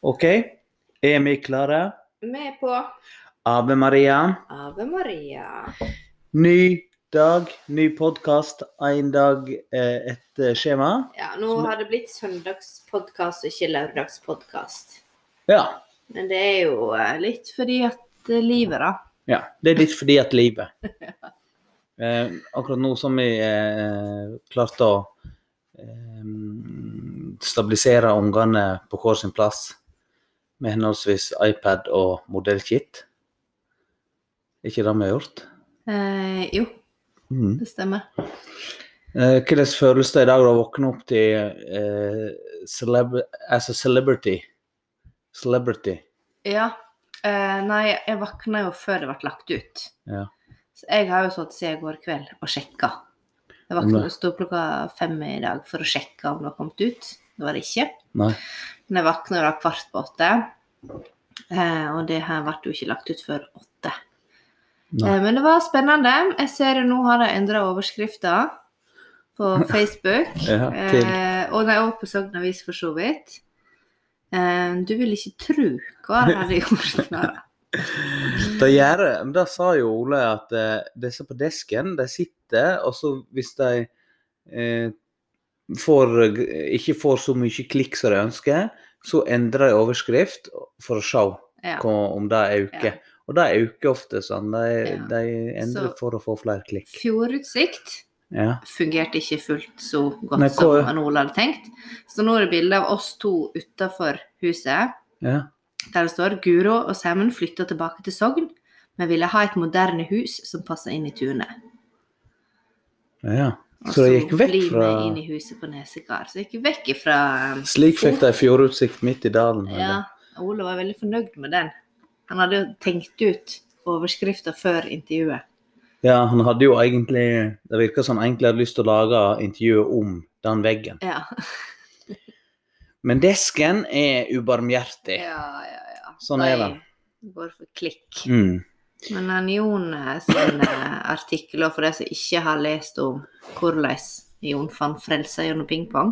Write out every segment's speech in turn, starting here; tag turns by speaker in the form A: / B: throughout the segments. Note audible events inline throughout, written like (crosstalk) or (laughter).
A: Ok, er vi klare?
B: Vi er på
A: Ave Maria.
B: Ave Maria.
A: Ny dag, ny podkast. Én dag eh, etter skjema.
B: Ja, nå har det blitt søndagspodkast og ikke lørdagspodkast.
A: Ja.
B: Men det er jo eh, litt fordi at eh, livet, da.
A: ja. Det er litt fordi at livet. Eh, akkurat nå som vi eh, klarte å eh, stabilisere ungene på hver sin plass med henholdsvis iPad og modellkit. Ikke det vi har gjort?
B: Eh, jo,
A: Mm.
B: det stemmer.
A: Eh, Hvordan føles det i dag å våkne opp til eh, celeb as a celebrity? Celebrity.
B: Ja. Eh, nei, jeg våkna jo før det ble lagt ut.
A: Ja.
B: Så jeg har jo stått siden i går kveld og sjekka. Jeg
A: Men
B: våkna
A: det-
B: og sto opp klokka fem i dag for å sjekke om det var kommet ut. Det var det ikke.
A: Nei.
B: Men jeg våkna da kvart på åtte. Eh, og det her ble jo ikke lagt ut før åtte.
A: Nei.
B: Eh, men det var spennende. Jeg ser nå har de endra overskrifta
A: (laughs)
B: på Facebook.
A: Ja, til.
B: eh, og de er også på Sogn Avis, for så vidt. Eh, du vil ikke tru hva de hadde gjort med
A: (laughs)
B: det.
A: Det gjør det. Men da sa jo Ole at eh, disse på desken, de sitter, og så hvis de eh, får, ikke får så mye klikk som de ønsker, så endrer de overskrift for å se
B: Ja.
A: hva, om det øker. Og det øker ofte sånn. De,
B: Ja.
A: de endrer
B: Så-
A: for å få flere klikk.
B: Fjordutsikt
A: Ja.
B: fungerte ikke fullt så godt
A: Nei,
B: som
A: hva-
B: han Ole hadde tenkt. Så nå er det bilde av oss to utafor huset.
A: ja.
B: Der det står Guro og Semmen flytta tilbake til Sogn, men ville ha et moderne hus som passa inn i tunet.
A: Ja.
B: Og
A: Så det gikk vekk
B: blir
A: fra
B: vi inn i huset på Nesegard. Så det gikk vekk ifra um,
A: Slik fikk de fjordutsikt midt i dalen. eller?
B: Ja, Ole var veldig fornøyd med den. Han hadde jo tenkt ut overskrifta før intervjuet.
A: ja, han hadde jo egentlig Det virka som han egentlig hadde lyst til å lage intervjuet om den veggen.
B: Ja,
A: Men desken er ubarmhjertig.
B: ja, ja. ja.
A: Sånn er det.
B: De Går for klikk.
A: Mm.
B: Men han Jon eh, sin eh, artikkel, og for de som ikke har lest om hvordan Jon fant frelse gjennom pingpong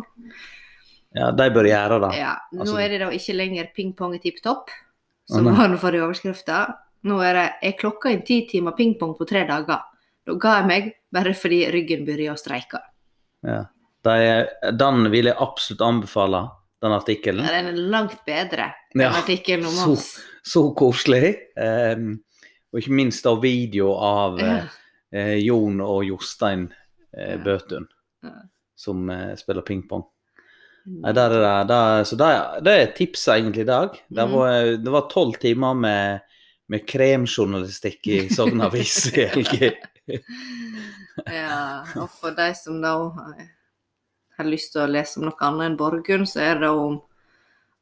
A: Ja, de bør gjøre det.
B: Ja, nå
A: altså-
B: er det da ikke lenger pingpong i tipp topp,
A: Å,
B: som
A: nei.
B: var den forrige overskrifta. Nå er det 'er klokka en ti timer pingpong på tre dager'. Da ga jeg meg bare fordi ryggen begynte å streike.
A: Ja. De, den vil jeg absolutt anbefale, den artikkelen.
B: Ja, Den er langt bedre enn
A: Ja,
B: artikkelen om
A: så-
B: oss.
A: (laughs) Så koselig. Ehm, og ikke minst av video av eh,
B: Ja.
A: eh, Jon og Jostein eh,
B: Ja.
A: Bøtun,
B: Ja.
A: som eh, spiller pingpong. Nei, der er det, der, så det, det er tipset egentlig i dag. Det
B: Mhm.
A: var, det var tolv timer med, med kremjournalistikk i Sogn Avis i
B: (laughs)
A: helga.
B: (laughs) Ja, og for de som da eh, har lyst til å lese om noe annet enn Borgund, så er det om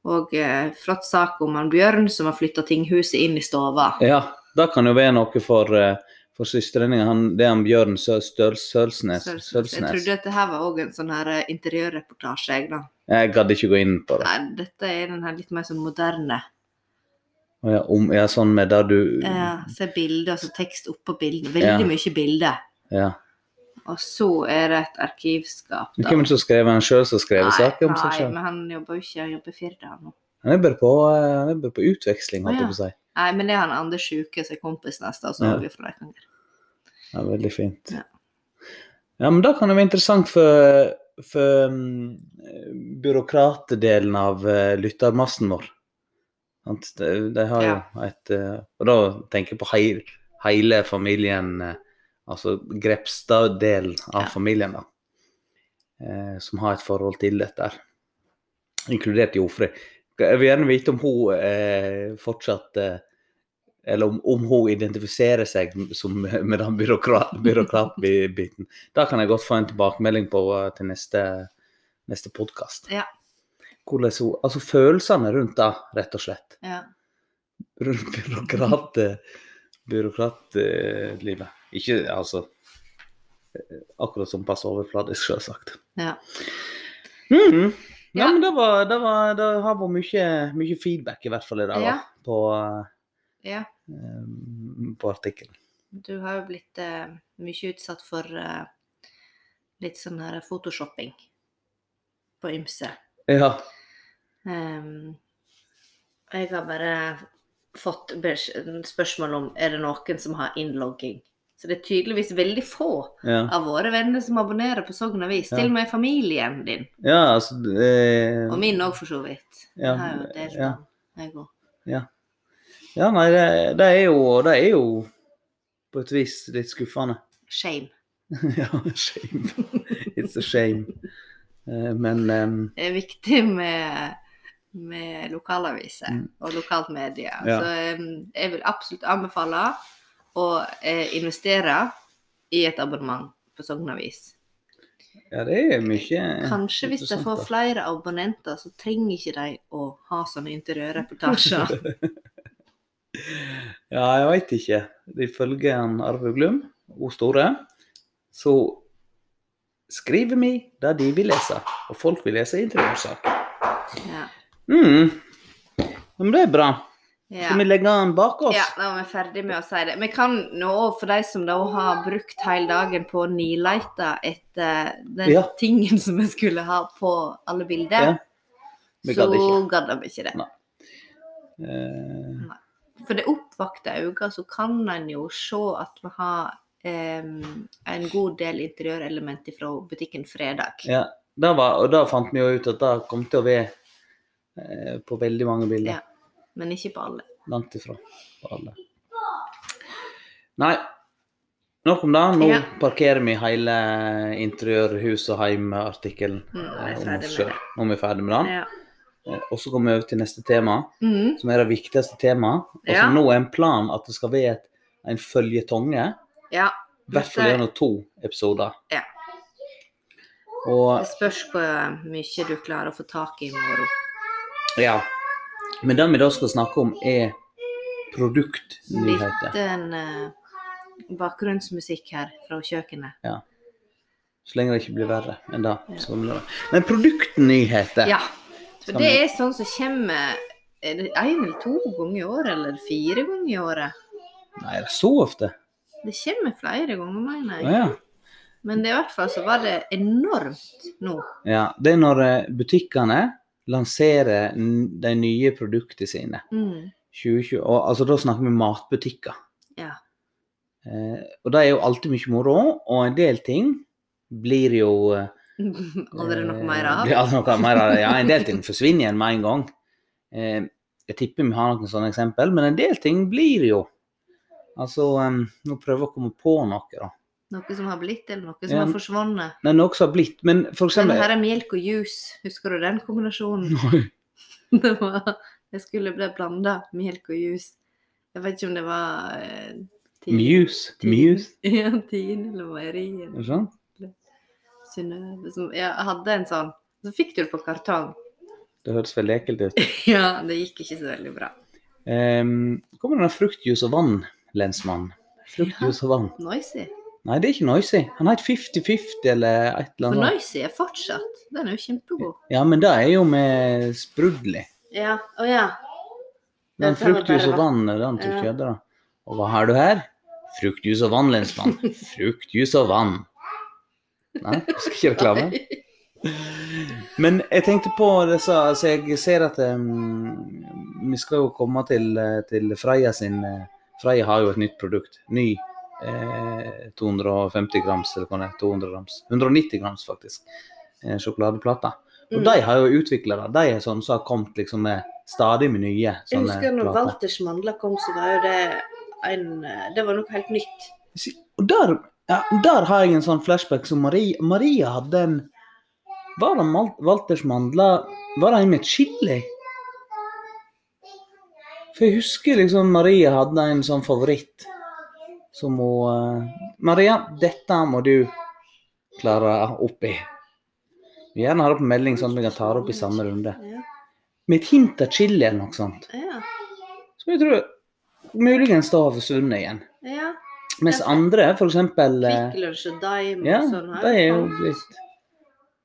B: og eh, flott sak om han Bjørn som har flytta tinghuset inn i stova.
A: Ja, det kan jo være noe for, eh, for søstreninga. Han- Det er han Bjørn Sø- Støl- Sølsnes.
B: Så- så- så Jeg
A: Sølsnes.
B: trodde at det her var òg en sånn her eh, interiørreportasje, jeg, da.
A: Jeg gadd ikke gå inn på det.
B: Nei, dette er den her litt mer sånn moderne.
A: Å Ja, om, ja, sånn med der du
B: Eh, se bilder, altså tekst oppå bildene.
A: Ja.
B: Veldig mye bilder.
A: Ja.
B: Og så er det et arkivskap,
A: Hvem er det som skrev han sjøl som skrev saken om seg
B: nei,
A: sjøl?
B: men han jobber jo ikke, han jobber i Firda nå.
A: Han er bare på, eh, han er bare på utveksling, holdt jeg
B: Å,
A: på å si.
B: Nei, men det er han andre sjuke som er kompis neste, og så
A: Ja.
B: har vi fra deg ganger.
A: Ja, veldig fint. Ja.
B: Ja.
A: men da kan det være interessant for, for um, byråkratdelen av eh, lyttermassen vår. Sant? De, de har jo et eh, Og da tenker jeg på heil, hele familien, eh, altså Grepstad-delen av
B: Ja.
A: familien, da. eh, som har et forhold til dette, her. inkludert Jofrid. Jeg vil gjerne vite om hun eh, fortsatt eh, eller om, om hun identifiserer seg som, (laughs) med den byråkrat- byråkratbiten. Da kan jeg godt få en tilbakemelding på eh, til neste, neste podkast.
B: Ja.
A: Altså følelsene rundt det, rett og slett.
B: Ja.
A: Rundt byråkrat, eh, byråkratlivet. Ikke altså eh, Akkurat som passe overfladisk, selvsagt.
B: ja.
A: Mhm. Ja,
B: Ja.
A: men det, var, det, var, det har vært mye, mye feedback, i hvert fall i dag, da,
B: Ja.
A: på,
B: ja.
A: eh, på artikkelen.
B: Du har jo blitt eh, mye utsatt for eh, litt sånn her photoshopping på ymse.
A: Ja.
B: Ehm, Jeg har bare fått besk- spørsmål om er det noen som har innlogging. Så det er tydeligvis veldig få
A: Ja,
B: av våre venner som abonnerer på Sogn Avis.
A: Ja.
B: Til og med familien din.
A: ja altså eh,
B: Og min òg, for så vidt.
A: Ja,
B: Jeg har jo delt
A: ja.
B: den, jeg òg.
A: Ja, nei, det, det, er jo, det er jo på et vis litt skuffende. (laughs)
B: Shame.
A: ja, shame. It's a shame. Eh, men ehm,
B: Det er viktig med, med lokalaviser
A: Mm.
B: og lokalt medie.
A: Ja.
B: Så em, jeg vil absolutt anbefale å eh, investere i et abonnement på Sogn Avis.
A: ja, det er mye
B: Kanskje hvis de
A: interessant,
B: får
A: da.
B: flere abonnenter, så trenger ikke de å ha sånne interiørreportasjer.
A: (laughs) Ja, jeg veit ikke. Ifølge han Arve Glum, O Store, så skriver vi det de vil lese. Og folk vil lese intervjusaker.
B: Ja.
A: Mm. Men det er bra.
B: Ja.
A: Skal vi legge den bak oss?
B: ja, da er vi ferdig med å si det. Vi kan nå, for de som da har brukt hele dagen på å nileite etter eh, den
A: Ja.
B: tingen som vi skulle ha på alle bilder,
A: Ja. Vi
B: så
A: gadd ikke.
B: gadd vi ikke det.
A: Eh,
B: For det oppvakte øyne, så kan en jo se at vi har em, en god del interiørelement fra butikken Fredag.
A: ja. Da, var, og da fant vi jo ut at det kom til å være eh, på veldig mange bilder.
B: Ja. Men ikke på alle.
A: Langt ifra på alle. Nei, nok om det. Nå
B: Ja.
A: parkerer vi hele interiørhus og heim-artikkelen.
B: Mm,
A: eh,
B: nå er jeg
A: om
B: ferdig
A: oss
B: med
A: selv.
B: det.
A: Nå er vi ferdig med den.
B: Ja.
A: Eh, Og så kommer vi over til neste tema,
B: Mm.
A: som er det viktigste temaet. Og som
B: Ja.
A: nå er en plan at det skal være et, en føljetonge.
B: ja.
A: I hvert fall
B: Dette-
A: gjennom to episoder.
B: Ja. Det
A: Og
B: spørs hvor eh, mye du klarer å få tak i i morgen.
A: ja. Men det vi da skal snakke om, er produktnyheter.
B: Litt en eh, bakgrunnsmusikk her fra kjøkkenet.
A: Så lenge det ikke blir verre enn det.
B: Ja.
A: så blir det. Men produktnyheter
B: Ja. For det er sånn som kommer er det én eller to ganger i året, eller fire ganger i året.
A: Nei, det er så ofte.
B: Det kommer flere ganger,
A: Ja,
B: mener jeg.
A: ja.
B: Men det, i hvert fall så var det enormt nå.
A: ja. Det er når eh, butikkene lanserer n- de nye produktene sine.
B: Mm. (laughs)
A: 2020, og, altså Da snakker vi matbutikker.
B: Ja.
A: Eh, og det er jo alltid mye moro, og en del ting blir jo eh,
B: Aldri noe
A: eh,
B: mer av.
A: blir aldri noe mer av. det. Ja, en del ting forsvinner igjen med en gang. Eh, jeg tipper vi har noen sånne eksempel, men en del ting blir jo. Altså, eh, nå prøver jeg å komme på noe, da.
B: Noe som har blitt, eller noe som
A: Ja.
B: har forsvunnet.
A: Nei, noe som har blitt, men for
B: Den
A: eksempel
B: her er melk og juice. Husker du den kombinasjonen?
A: Nei.
B: (laughs) Det var Jeg skulle bli blanda melk og juice. Jeg vet ikke om det var eh, Tine-
A: Muse.
B: Tine-
A: Muse.
B: (laughs) Ja, Tine eller Meierien.
A: Er det sant?
B: Synnøve som Jeg hadde en sånn. Så fikk du det på kartong. (laughs)
A: Det høres veldig ekkelt ut.
B: Ja, det gikk ikke så veldig bra.
A: Um, kommer det fruktjuice og vann, lensmann? Fruktjuice og vann.
B: Noisy.
A: Nei, det er ikke Noisy. Han het 50-50 eller et eller
B: For
A: annet.
B: Noisy er fortsatt Den er jo kjempegod.
A: Ja, men det er jo med sprudli.
B: Ja. Å ja. Ja,
A: Men
B: det var
A: fruktjus
B: bare
A: og vann, det er den
B: Ja.
A: tok jeg da. Og hva har du her? Fruktjus og vann, lensmann.
B: (laughs)
A: Fruktjus og vann. Nei, jeg skal ikke reklame.
B: (laughs)
A: Men jeg tenkte på disse, altså jeg ser at em, vi skal jo komme til, eh, til Freia sin, eh, Freia har jo et nytt produkt, ny eh, 250 grams, eller hva det er, 200 grams, 190 grams faktisk, eh, sjokoladeplata. Og
B: Mm.
A: de har jo utvikla det. De er sånn som har kommet liksom med stadig med nye
B: Jeg
A: sånne
B: husker når
A: plater.
B: Walters mandler kom, så var jo det en eh, Det var noe helt nytt.
A: Si- Og der, ja, der har jeg en sånn flashback som Maria, Maria hadde en Var det Mal- Walters mandler Var det en med chili? For jeg husker liksom Maria hadde en sånn favoritt som hun eh, Maria, dette må du klare opp i. Vi gjerne har det på melding, sånn at vi kan ta det opp i samme runde.
B: Ja.
A: Med et hint av chili eller noe sånt.
B: Ja.
A: Som jeg tror muligens da har forsvunnet igjen.
B: ja.
A: Mens andre, for eksempel eh,
B: Kvikk Lunsj og Dime
A: Ja,
B: og sånn her.
A: de er jo
B: kom.
A: blitt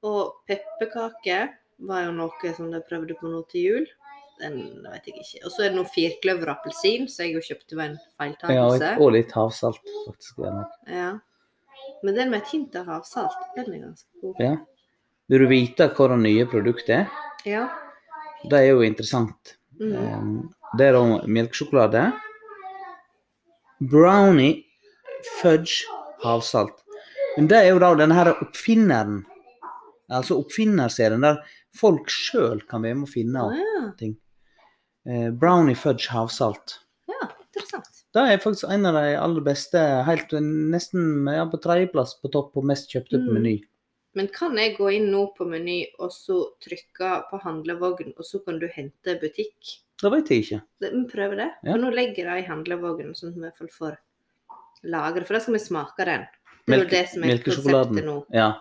B: Og pepperkaker var jo noe som de prøvde på nå til jul. Den vet jeg ikke. Og så er det noe firkløver og appelsin, så jeg jo kjøpte ved en
A: ja, og,
B: feiltakelse.
A: og litt havsalt, faktisk. Ja.
B: Ja. Men den med et hint av havsalt, den er ganske god.
A: Ja. Vil du vite hva det nye produktet er?
B: Ja.
A: Det er jo interessant.
B: Mm.
A: Eh, Det er da melkesjokolade, brownie, fudge, havsalt. Men det er jo da denne her oppfinneren, altså oppfinnerserien der folk sjøl kan være med å finne
B: Å,
A: opp
B: ja.
A: ting. Eh, Brownie, fudge, havsalt.
B: ja, interessant.
A: Det er faktisk en av de aller beste, helt nesten ja, på tredjeplass på topp på mest kjøpte på
B: Mm.
A: Meny.
B: Men kan jeg gå inn nå på Meny og så trykke på handlevogn, og så kan du hente butikk?
A: Det vet jeg ikke.
B: Det- Vi prøver det.
A: Ja.
B: For nå legger jeg det i handlevognen, sånn at vi i hvert fall får lagre. For da skal vi smake den. Det er jo
A: Melke-
B: det som er
A: melkesjokoladen.
B: konseptet nå.
A: Ja.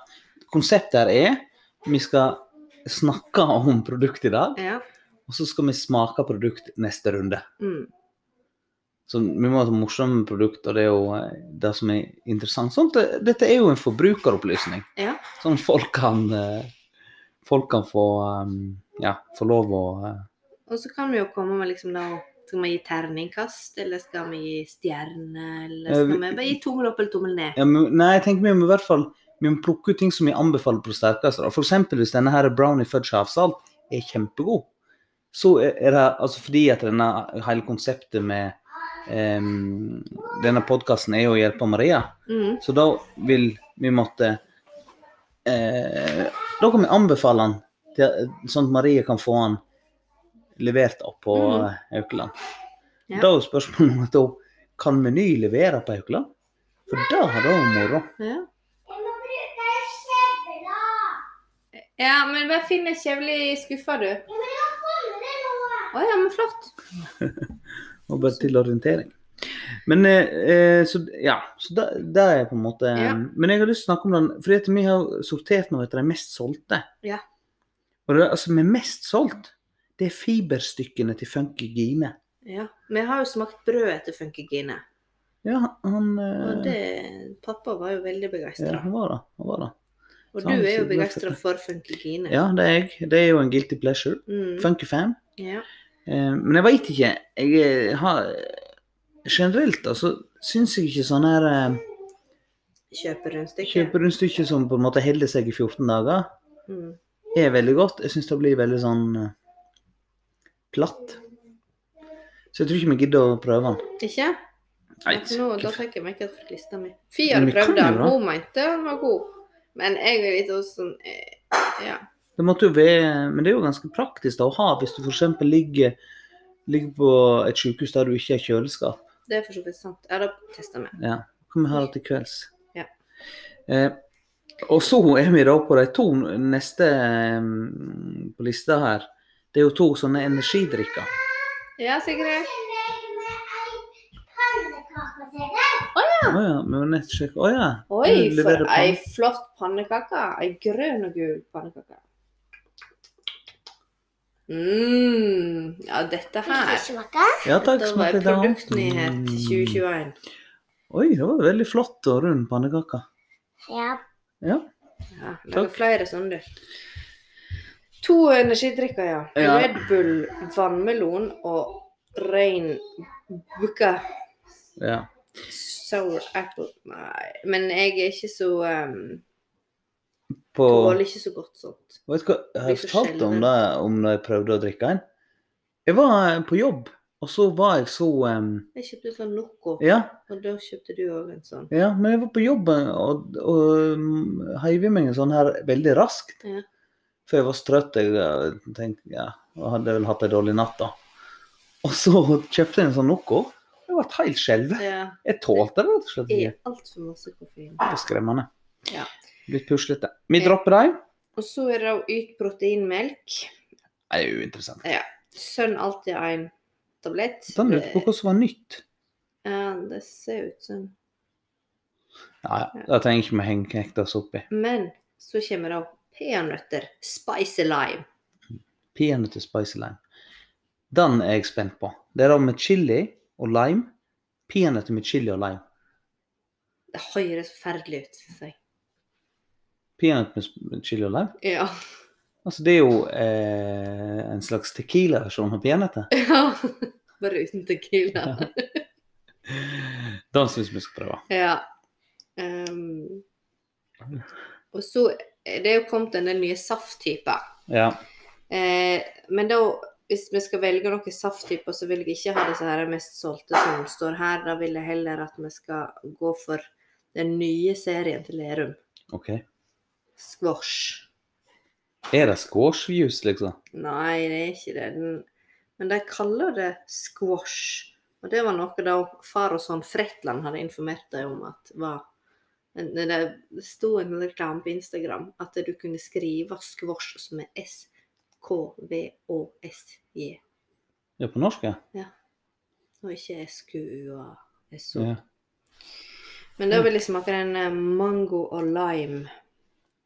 A: Konseptet her er vi skal snakke om produkt i dag,
B: Ja.
A: og så skal vi smake produkt neste runde.
B: Mm.
A: Så vi må ha et morsomt produkt, og det er jo eh, det som er interessant. Sånt, eh, dette er jo en forbrukeropplysning.
B: Ja.
A: Sånn folk kan, eh, folk kan få, um, ja, få lov å eh,
B: Og så kan vi jo komme med liksom da Skal vi gi terningkast, eller skal vi gi stjerne, eller
A: Eh,
B: skal
A: vi-
B: vi bare gi tommel opp eller tommel ned?
A: ja, men, Nei, jeg tenker vi må i hvert fall vi må plukke ut ting som vi anbefaler på det sterkeste. da. For eksempel hvis denne her brownie fudge havsalt er kjempegod, så er er det altså fordi at denne hele konseptet med em, denne podkasten er jo å hjelpe Maria.
B: Mm.
A: Så da vil vi måtte eh, Da kan vi anbefale han, til, sånn at Marie kan få han levert opp på
B: Mhm.
A: eh, Haukeland.
B: Ja.
A: Da er jo spørsmålet om at hun kan Meny levere på Haukeland. For da har det vært moro.
B: Ja.
C: Jeg må bruke ei kjevla.
B: ja, men bare finn ei kjevle i skuffa, du.
C: Jeg vil ha fangre nå.
B: Å ja, men flott.
A: Og bare til orientering. Men eh, eh, så ja, så det, det er på en måte
B: Ja.
A: Men jeg har lyst til å snakke om den, fordi at vi har sortert nå etter de mest solgte.
B: Ja.
A: Og det, altså, med mest solgt, det er fiberstykkene til Funky Gine.
B: Ja. Vi har jo smakt brød etter funkygine.
A: Ja, han eh,
B: Og det Pappa var jo veldig
A: Ja,
B: begeistra.
A: han var det. Han var det.
B: Og
A: så
B: du
A: han
B: er jo
A: sier-
B: begeistra for funkygine.
A: Ja, det er jeg. Det er jo en guilty pleasure.
B: Mm.
A: Funky fan.
B: ja.
A: Eh, men jeg veit ikke. Jeg eh, har Generelt, altså, syns jeg ikke sånne her eh,
B: Kjøper rundstykker.
A: kjøperundstykker som på en måte holder seg i 14 dager,
B: Mm.
A: er veldig godt. Jeg syns det blir veldig sånn eh, platt. Så jeg tror ikke vi gidder å prøve den.
B: Ikke?
A: Nei,
B: Ja, for nå, da
A: hva f-
B: fikk jeg meg ikke fra lista mi. Fy
A: Men
B: hadde
A: vi kan
B: prøvd den,
A: jo da.
B: hun mente den var god. Men jeg er litt også sånn eh, Ja.
A: det måtte jo være, men det er jo ganske praktisk da, å ha hvis du f.eks. Ligger, ligger på et sykehus der du ikke har kjøleskap.
B: Det er for så vidt sant. Jeg hadde testa meg.
A: Ja. Kan vi ha det til kvelds?
B: Ja.
A: Eh, og så er vi da på de to neste eh, på lista her. Det er jo to sånne energidrikker.
B: Ja, Sigrid.
A: Å ja, vi må nett sjekke. Å ja.
B: Oi,
A: du
B: for
A: leverer på.
B: ei flott pannekake. Ei grønn og gul pannekake. mm. Ja, dette her
A: Ja takk,
B: Dette var
A: smak
B: ei
A: litt av den.
B: produktnyhet
A: Mm.
B: 2021.
A: Oi, det var veldig flott og rund pannekake.
C: Ja.
A: Ja.
B: Ja, det
A: Takk.
B: er flere sånne. To energidrikker, ja.
A: Ja.
B: Red Bull, vannmelon og rein bukka
A: ja.
B: sour apple. Nei, men jeg er ikke så um,
A: På
B: Tåler ikke så godt sånt.
A: Vet du hva, jeg har
B: Blir så
A: fortalt om
B: sjelden.
A: det, om da jeg prøvde å drikke en. Jeg var eh, på jobb, og så var jeg så eh,
B: Jeg kjøpte sånn Noco,
A: Ja,
B: og da kjøpte du òg en sånn.
A: Ja, men jeg var på jobb og, og um, heiv i meg en sånn her veldig raskt.
B: Ja.
A: For jeg var så trøtt. Jeg eh, tenkte, ja, og hadde vel hatt en dårlig natt, da. Og så kjøpte jeg en sånn Noco. Jeg ble helt skjelven.
B: Ja.
A: Jeg tålte det rett og slett
B: Det
A: ikke.
B: er altfor masse koffein.
A: Det var skremmende.
B: Ja.
A: Litt puslete. Vi
B: Ja.
A: dropper dem.
B: Og så er det jo Yt proteinmelk.
A: Det er jo interessant.
B: Sønn alltid en tablett.
A: Den lurte på hva som var nytt.
B: Ja, det ser ut som
A: Nei, det trenger ikke vi henge hekte oss opp i.
B: Men så kommer det peanøtter. Spicy lime.
A: Peanøtter spicy lime. Den er jeg spent på. Det er da med chili og lime. Peanøtter med chili og lime.
B: Det høres forferdelig ut, syns jeg.
A: Peanøtt med sp- med chili og lime?
B: Ja.
A: Altså, det er jo eh, en slags tequila-versjon av peanøtter.
B: (laughs) Bare uten tequila.
A: Den syns vi skal prøve.
B: Ja. Ehm, og så er det jo kommet en del nye safttyper.
A: Ja.
B: Eh, men da Hvis vi skal velge noen safttyper, så vil jeg ikke ha disse her mest solgte som står her. Da vil jeg heller at vi skal gå for den nye serien til Lerum.
A: OK.
B: Squash.
A: Er det squashjuice, liksom?
B: Nei, det er ikke det. Den, men de kaller det squash. Og det var noe da far og sånn Fretland hadde informert deg om at var men Det det sto en reklame på Instagram at du kunne skrive squash som er S-K-V-Å-S-J.
A: Ja, på norsk, ja.
B: Og ikke S-Q-U-A-S-O.
A: ja.
B: Men da vil jeg smake den eh, mango og lime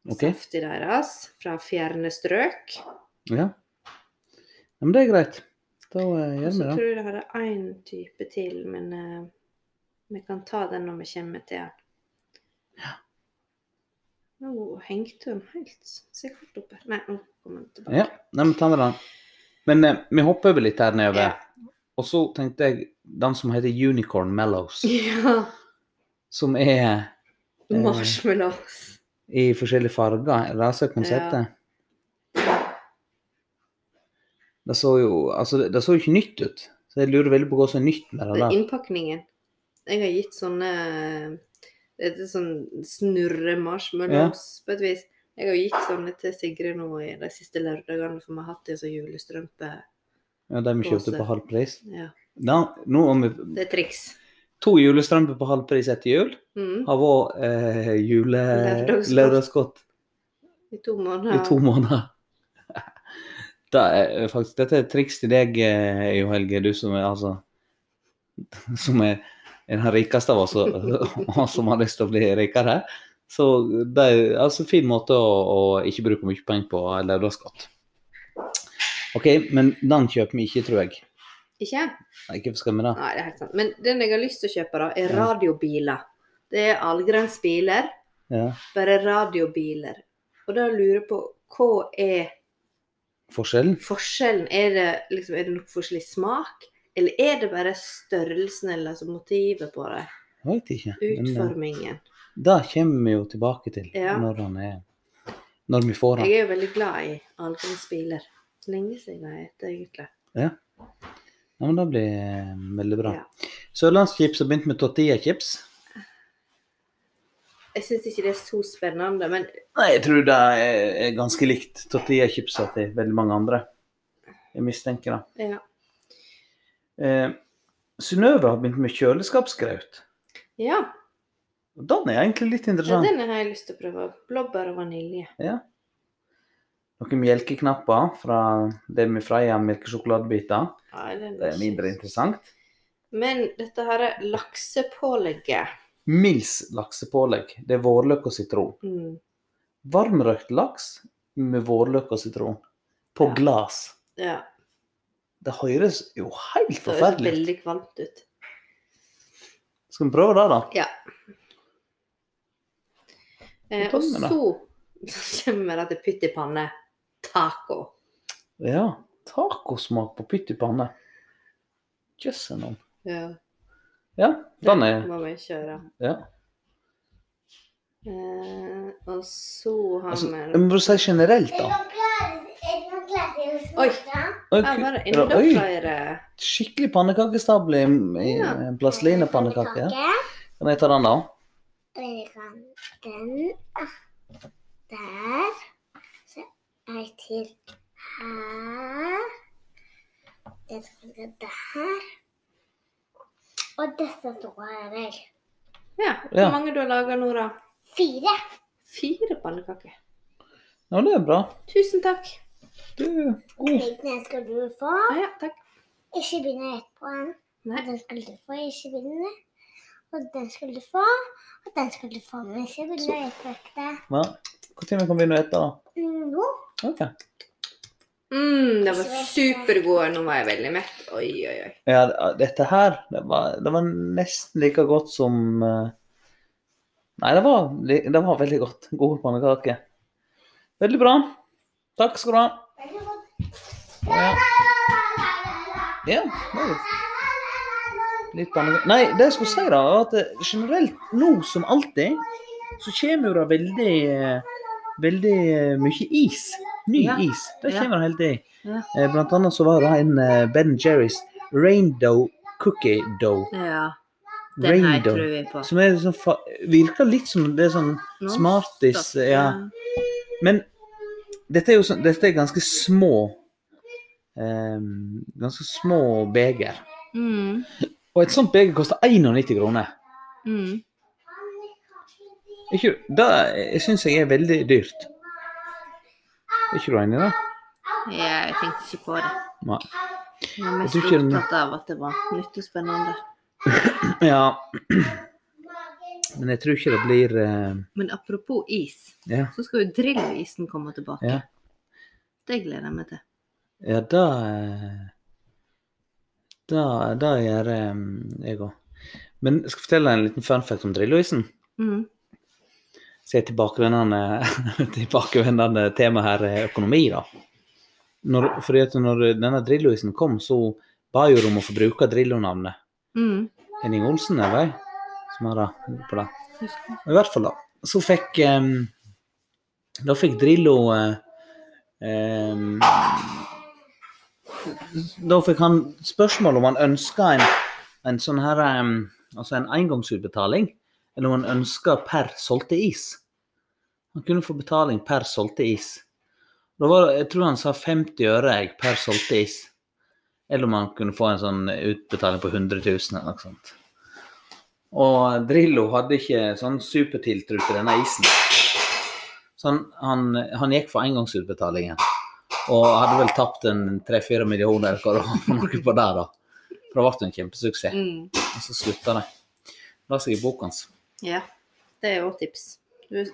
A: Ok.
B: safti deres fra fjerne strøk.
A: Ja. ja men det er greit. Da eh,
B: Og
A: gjør
B: så
A: vi det.
B: tror jeg jeg hadde én type til, men eh, vi kan ta den når vi kommer til den. Nå hengte den helt sikkert oppe. Nei, nå kom den tilbake.
A: Ja, nei, men ta med den. Men eh, vi hopper over litt her nedover.
B: Ja.
A: Og så tenkte jeg den som heter Unicorn Mellows,
B: Ja. (laughs)
A: som er Eh.
B: Marshmallows.
A: i forskjellige farger. Er det det som er konseptet? Det så jo altså, det, det så jo ikke nytt ut, så jeg lurer veldig på hva som er nytt med det.
B: Det er
A: der.
B: innpakningen. Jeg har gitt sånne Det er sånn snurre marshmallows på et vis. Jeg har gitt sånne til Sigrid nå i de siste lørdagene, for vi har hatt det som julestrømpe.
A: Ja, de vi kjøpte på
B: pose.
A: halv pris.
B: Ja,
A: Da, nå har vi
B: det er triks.
A: to julestrømper på halv pris etter jul.
B: Mm.
A: Har vært eh, jule...
B: Lørdagsgodt.
A: lørdagsgodt
B: I to
A: i
B: måneder.
A: to måneder. Det er eh, faktisk, dette er et triks til deg, eh, Jo Helge, du som er altså (laughs) Som er en av de rikeste av oss, og (laughs) og som har lyst til å bli rikere. Så det er altså en fin måte å, å ikke bruke mye penger på lørdagsgodt. OK, men den kjøper vi ikke, tror jeg.
B: Ikke?
A: Nei, Hvorfor skal vi det?
B: Nei, det er helt sant. Men den jeg har lyst til å kjøpe, da, er
A: Ja.
B: radiobiler. Det er allgrens biler,
A: Ja,
B: bare radiobiler. Og da lurer jeg på hva er
A: forskjellen?
B: forskjellen? Er det, liksom, er det noe forskjellig smak? Eller er det bare størrelsen eller altså, motivet på det?
A: Jeg vet ikke. Men, eh,
B: Utformingen.
A: Det kommer vi jo tilbake til
B: Ja.
A: når, han er, når vi får han.
B: Jeg er jo veldig glad i allgrens biler. Lenge siden jeg het det, egentlig.
A: Ja, men Det blir eh, veldig bra.
B: Ja.
A: Sørlandschips har begynt med tortillachips.
B: Jeg syns ikke det er så spennende, men
A: Nei, jeg tror det er er ganske likt tortillachipsa til veldig mange andre. Jeg mistenker det.
B: ja.
A: Eh, Synnøve har begynt med kjøleskapsgraut.
B: ja.
A: Og Den er sånn. egentlig litt
B: Ja,
A: interessant.
B: den har jeg lyst til å prøve. Blåbær og vanilje.
A: Noen melkeknapper fra det med Freia melkesjokoladebiter.
B: Ja, den
A: Det er mindre interessant.
B: Men dette her er laksepålegget.
A: Mils laksepålegg. Det er vårløk og sitron.
B: Mm.
A: varmrøkt laks med vårløk og sitron på
B: Ja.
A: glass.
B: Ja,
A: Det høres jo helt
B: det høres
A: forferdelig ut.
B: veldig kvalmt ut.
A: Skal vi prøve det, da?
B: Ja. Eh,
A: Hva
B: og
A: kommer det?
B: så (laughs) kommer det til pytt i panne. Taco.
A: Ja. Tacosmak på pytt i panne. Jøsse navn.
B: Ja,
A: Ja, den er
B: må vi kjøre.
A: ja.
B: Eh, og så har
A: altså,
B: vi
A: Jeg må bare si generelt,
C: Er
A: da.
C: dere klare- er dere klare til å
B: Oi.
C: smake?
A: Oi,
B: Ja, var det
A: er det-
B: enda
A: oi,
B: flere
A: skikkelig pannekakestabel i, i
B: Ja.
A: en plaslinepannekake. Kan jeg ta den, da?
C: Øyekanten. ah, Der. Så ei til her. Den skal ligge der. Og disse to her er
B: Ja, hvor
A: Ja.
B: mange du har laga nå, da?
C: fire.
B: Fire pannekaker.
A: Ja, det er bra.
B: Tusen takk.
A: Du er god.
C: Den skal du få.
B: Ja, ja, takk.
C: Ikke begynn rett på den. Og
B: Nei.
C: den skal du få. Ikke begynn Og den skal du få. Og den skal du få. Men ikke begynn
A: Så.
C: rett på ekte.
A: Ja. Når kan vi begynne å spise, da?
C: Nå.
A: Ok.
B: Mm, det var supergode. Nå var jeg veldig mett. Oi, oi, oi.
A: Ja, det- dette her, det var, det var nesten like godt som eh, Nei, det var, li- det var veldig godt. God pannekake. Veldig bra. Takk skal du ha.
C: Veldig godt.
A: Ja, ja det er litt pannekake Nei, det jeg skulle si, da, var at eh, generelt, nå som alltid, så kommer jo det veldig eh, Veldig eh, mye is Ny
B: Ja.
A: is. Det
B: Ja.
A: kommer det hele tida.
B: Ja.
A: Eh, Blant annet så var det en eh, Ben Jerrys Raindow Cookie Dough.
B: Ja, den her
A: Raindow.
B: tror vi på.
A: Som er sånn fa virker litt som det er sånn
B: Noen
A: Smarties,
B: stopp-
A: ja. Men dette er jo sånn Dette er ganske små eh, Ganske små beger.
B: Mm,
A: Og et sånt beger koster 91 kroner.
B: mm.
A: Er Ikke, det syns jeg er veldig dyrt. Er ikke du enig i det?
B: Ja, jeg tenkte ikke på det.
A: Nei.
B: Jeg er mest
A: tror ikke den-
B: opptatt av at det var nytt og spennende.
A: Ja. (clears throat) Men jeg tror ikke det blir eh,
B: Men apropos is,
A: Ja.
B: så skal jo drillisen komme tilbake.
A: Ja.
B: Det gleder jeg meg til.
A: Ja, det eh, Det, det gjør eh, jeg òg. Men jeg skal fortelle en liten fun fact om Drillo-isen.
B: Mm.
A: Så er tilbakevendende, (laughs) tilbakevendende tema her er økonomi, da. Når, fordi at når denne Drillo-isen kom, så ba jo de om å få bruke Drillo-navnet.
B: Mm.
A: Henning Olsen, er det? Som har det på det.
B: Husker.
A: Og I hvert fall, da. Så fikk em, Da fikk Drillo eh, em, Da fikk han spørsmål om han ønska en, en sånn her em, Altså en engangsutbetaling, eller om han ønska per solgte is. Han kunne få betaling per solgte is. Da var, det- jeg tror han sa 50 øre jeg, per solgte is. Eller om han kunne få en sånn utbetaling på 100 000 eller noe sånt. Og Drillo hadde ikke sånn supertiltro til denne isen. Så han, han, han gikk for engangsutbetalingen. Og hadde vel tapt en 3-4 millioner eller hva det var for noe (laughs) på der, da. For det ble jo en kjempesuksess.
B: Mm.
A: Og så slutta det. La seg i boka hans.
B: Ja, det er jo et tips. Du, du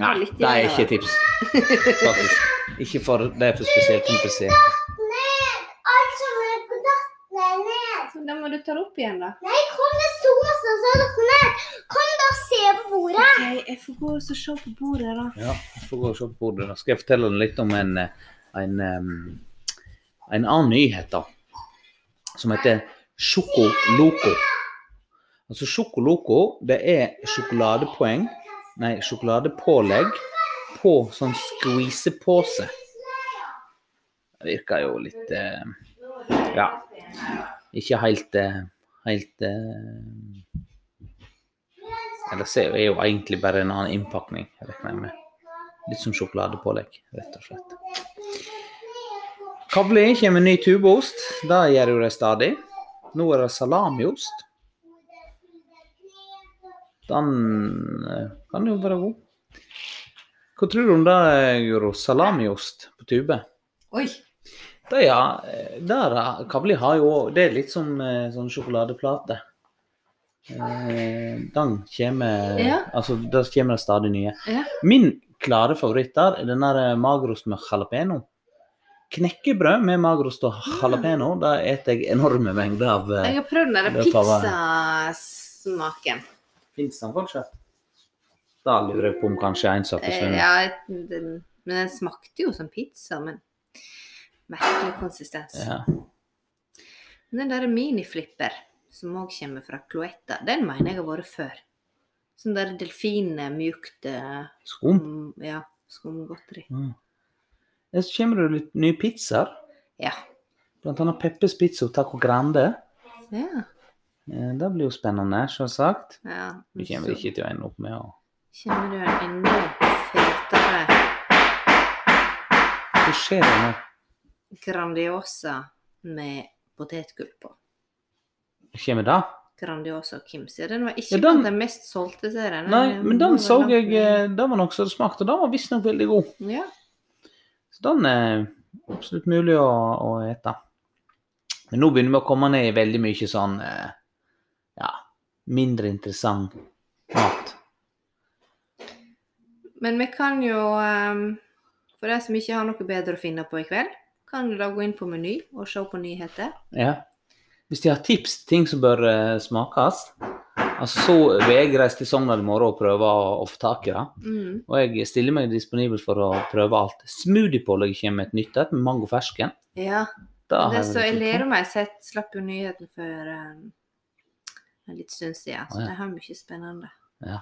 A: Nei,
B: har litt
A: det er
B: igjen, da.
A: ikke et tips, faktisk. Ikke for det er for spesielt interessert.
C: Ned! Alt som er på datten er ned!
B: Så den må du ta opp igjen, da.
C: Nei, kom med sosen, så er dere ned! Kom da og se på bordet!
B: Ok, jeg får gå og så se på bordet, da.
A: Ja, jeg får gå og se på bordet. Da skal jeg fortelle deg litt om en, eh, en, em, en annen nyhet, da. Som heter Choco Loco. Altså Choco Loco, det er sjokoladepoeng, nei, sjokoladepålegg på sånn skvisepose. Det virker jo litt eh, Ja. Ikke helt eh, Helt eh, Eller så er jo egentlig bare en annen innpakning, regner jeg med. Litt som sjokoladepålegg, rett og slett. Kavli kommer med ny tubeost. Det gjør jo de stadig. Nå er det salamiost. Den eh, kan jo være god. Hva tror du om det, Guro? Salamiost på tube?
B: Oi!
A: Det, ja. eh, Der, eh, Kavli har jo Det er litt som eh, sånn sjokoladeplate. Eh, Den kommer
B: Ja.
A: Altså, der kommer det stadig nye.
B: Ja.
A: Min klare favoritt der er den der magrost med jalapeño. Knekkebrød med magrost og jalapeño, det eter jeg enorme mengder av. eh,
B: Ah. Jeg har prøvd den der
A: Det er favoritt.
B: pizzasmaken.
A: Finnes den fortsatt? Da lurer jeg på om kanskje en sak
B: Eh,
A: forsvinner.
B: Ja, den, men den smakte jo som pizza, men merkelig konsistens.
A: Ja.
B: Men Den der miniflipper, som òg kommer fra Cloetta, den mener jeg har vært før. Sånn der delfinene mjukt eh,
A: Skum?
B: mm, Ja, skumgodteri.
A: Ja. Ja, Så kommer det litt nye pizzaer.
B: Ja.
A: Blant annet Peppes pizza og taco grande.
B: Ja.
A: Eh, Det blir jo spennende, selvsagt.
B: ja.
A: Vi kommer ikke til å ende opp med å
B: Kjenner du en enormt fetere
A: Hva skjer det nå?
B: Grandiosa med potetgull på?
A: Kommer det?
B: Grandiosa Kims. Ja, den var ikke
A: Ja,
B: ja,
A: den-
B: den... den mest solgte serien.
A: Nei, men den
B: var
A: så
B: langt
A: jeg
B: ned.
A: eh, Det var noe som smakte, og den var visstnok veldig god.
B: Ja.
A: Så den er absolutt mulig å, å ete. Men nå begynner vi å komme ned i veldig mye sånn eh, ja, mindre interessant mat.
B: Men vi kan jo, ehm, for de som ikke har noe bedre å finne på i kveld, kan du da gå inn på Meny og se på nyheter.
A: Ja. Hvis de har tips til ting som bør eh, smakes, altså så vil jeg reise til Sogndal i morgen og prøve å, å få tak i det.
B: Mm.
A: Og jeg stiller meg disponibel for å prøve alt. Smoothiepålegget kommer med et nytt et, med mango fersken.
B: Ja.
A: Det har
B: Det
A: jeg
B: så jeg
A: vel ikke
B: ler
A: på.
B: om jeg sett, slapp jo nyheten for ehm, en litt stund siden, så
A: Å, ja.
B: det har mye spennende.
A: Ja.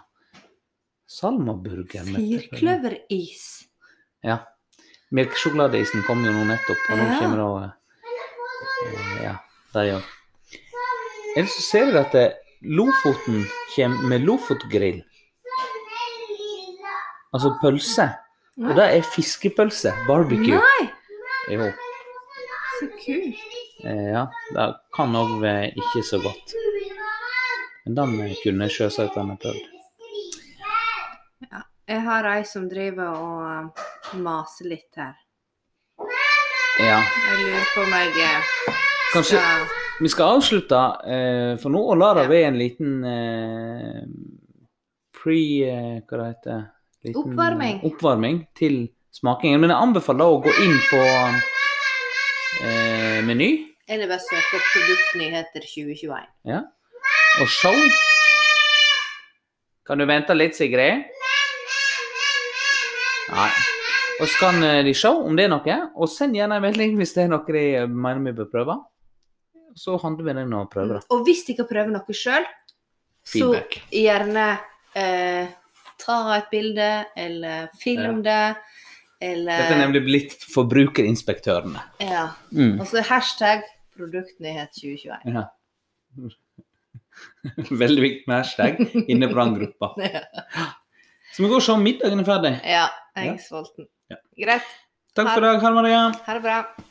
A: Salmaburger. med pepperoni.
B: Firkløveris.
A: Ja. Melkesjokoladeisen kom jo nå nettopp, og nå
B: Ja.
A: kommer det å eh, Ja, de òg. Ellers så ser vi at eh, Lofoten kommer med Lofotgrill, altså pølse. Og det er fiskepølse, barbecue.
B: Nei,
A: Jo.
B: så kult.
A: Eh, Ja, det kan òg være ikke så godt. Men den kunne sjølsagt han ha prøvd.
B: Jeg har ei som driver og eh, maser litt her.
A: Ja.
B: Jeg lurer på om jeg eh,
A: Kanskje
B: skal
A: vi skal avslutte eh, for nå og la det være en liten eh, pre... Eh, hva det heter liten,
B: Oppvarming.
A: Oppvarming til smakingen. Men jeg anbefaler å gå inn på eh, meny
B: Eller bare søke opp Produktnyheter 2021.
A: og se. Kan du vente litt, Sigrid? Nei. Og så kan eh, de se om det er noe, og send gjerne en melding hvis det er noe de mener vi bør prøve. Så handler vi den og prøver det.
B: Og hvis dere prøver noe sjøl, så
A: Feedback.
B: gjerne eh, ta et bilde, eller film det, eller
A: Dette er nemlig blitt forbrukerinspektørene.
B: Ja.
A: Mm.
B: Og så hashtag Produktnyhet (laughs) 2021.
A: Ja. (laughs) Veldig viktig med hashtag inne på den gruppa. Så vi går og ser om middagen er ferdig.
B: Ja, jeg
A: Ja.
B: er sulten.
A: Ja.
B: Greit.
A: Takk for i dag, Karl Maria.
B: Ha det bra.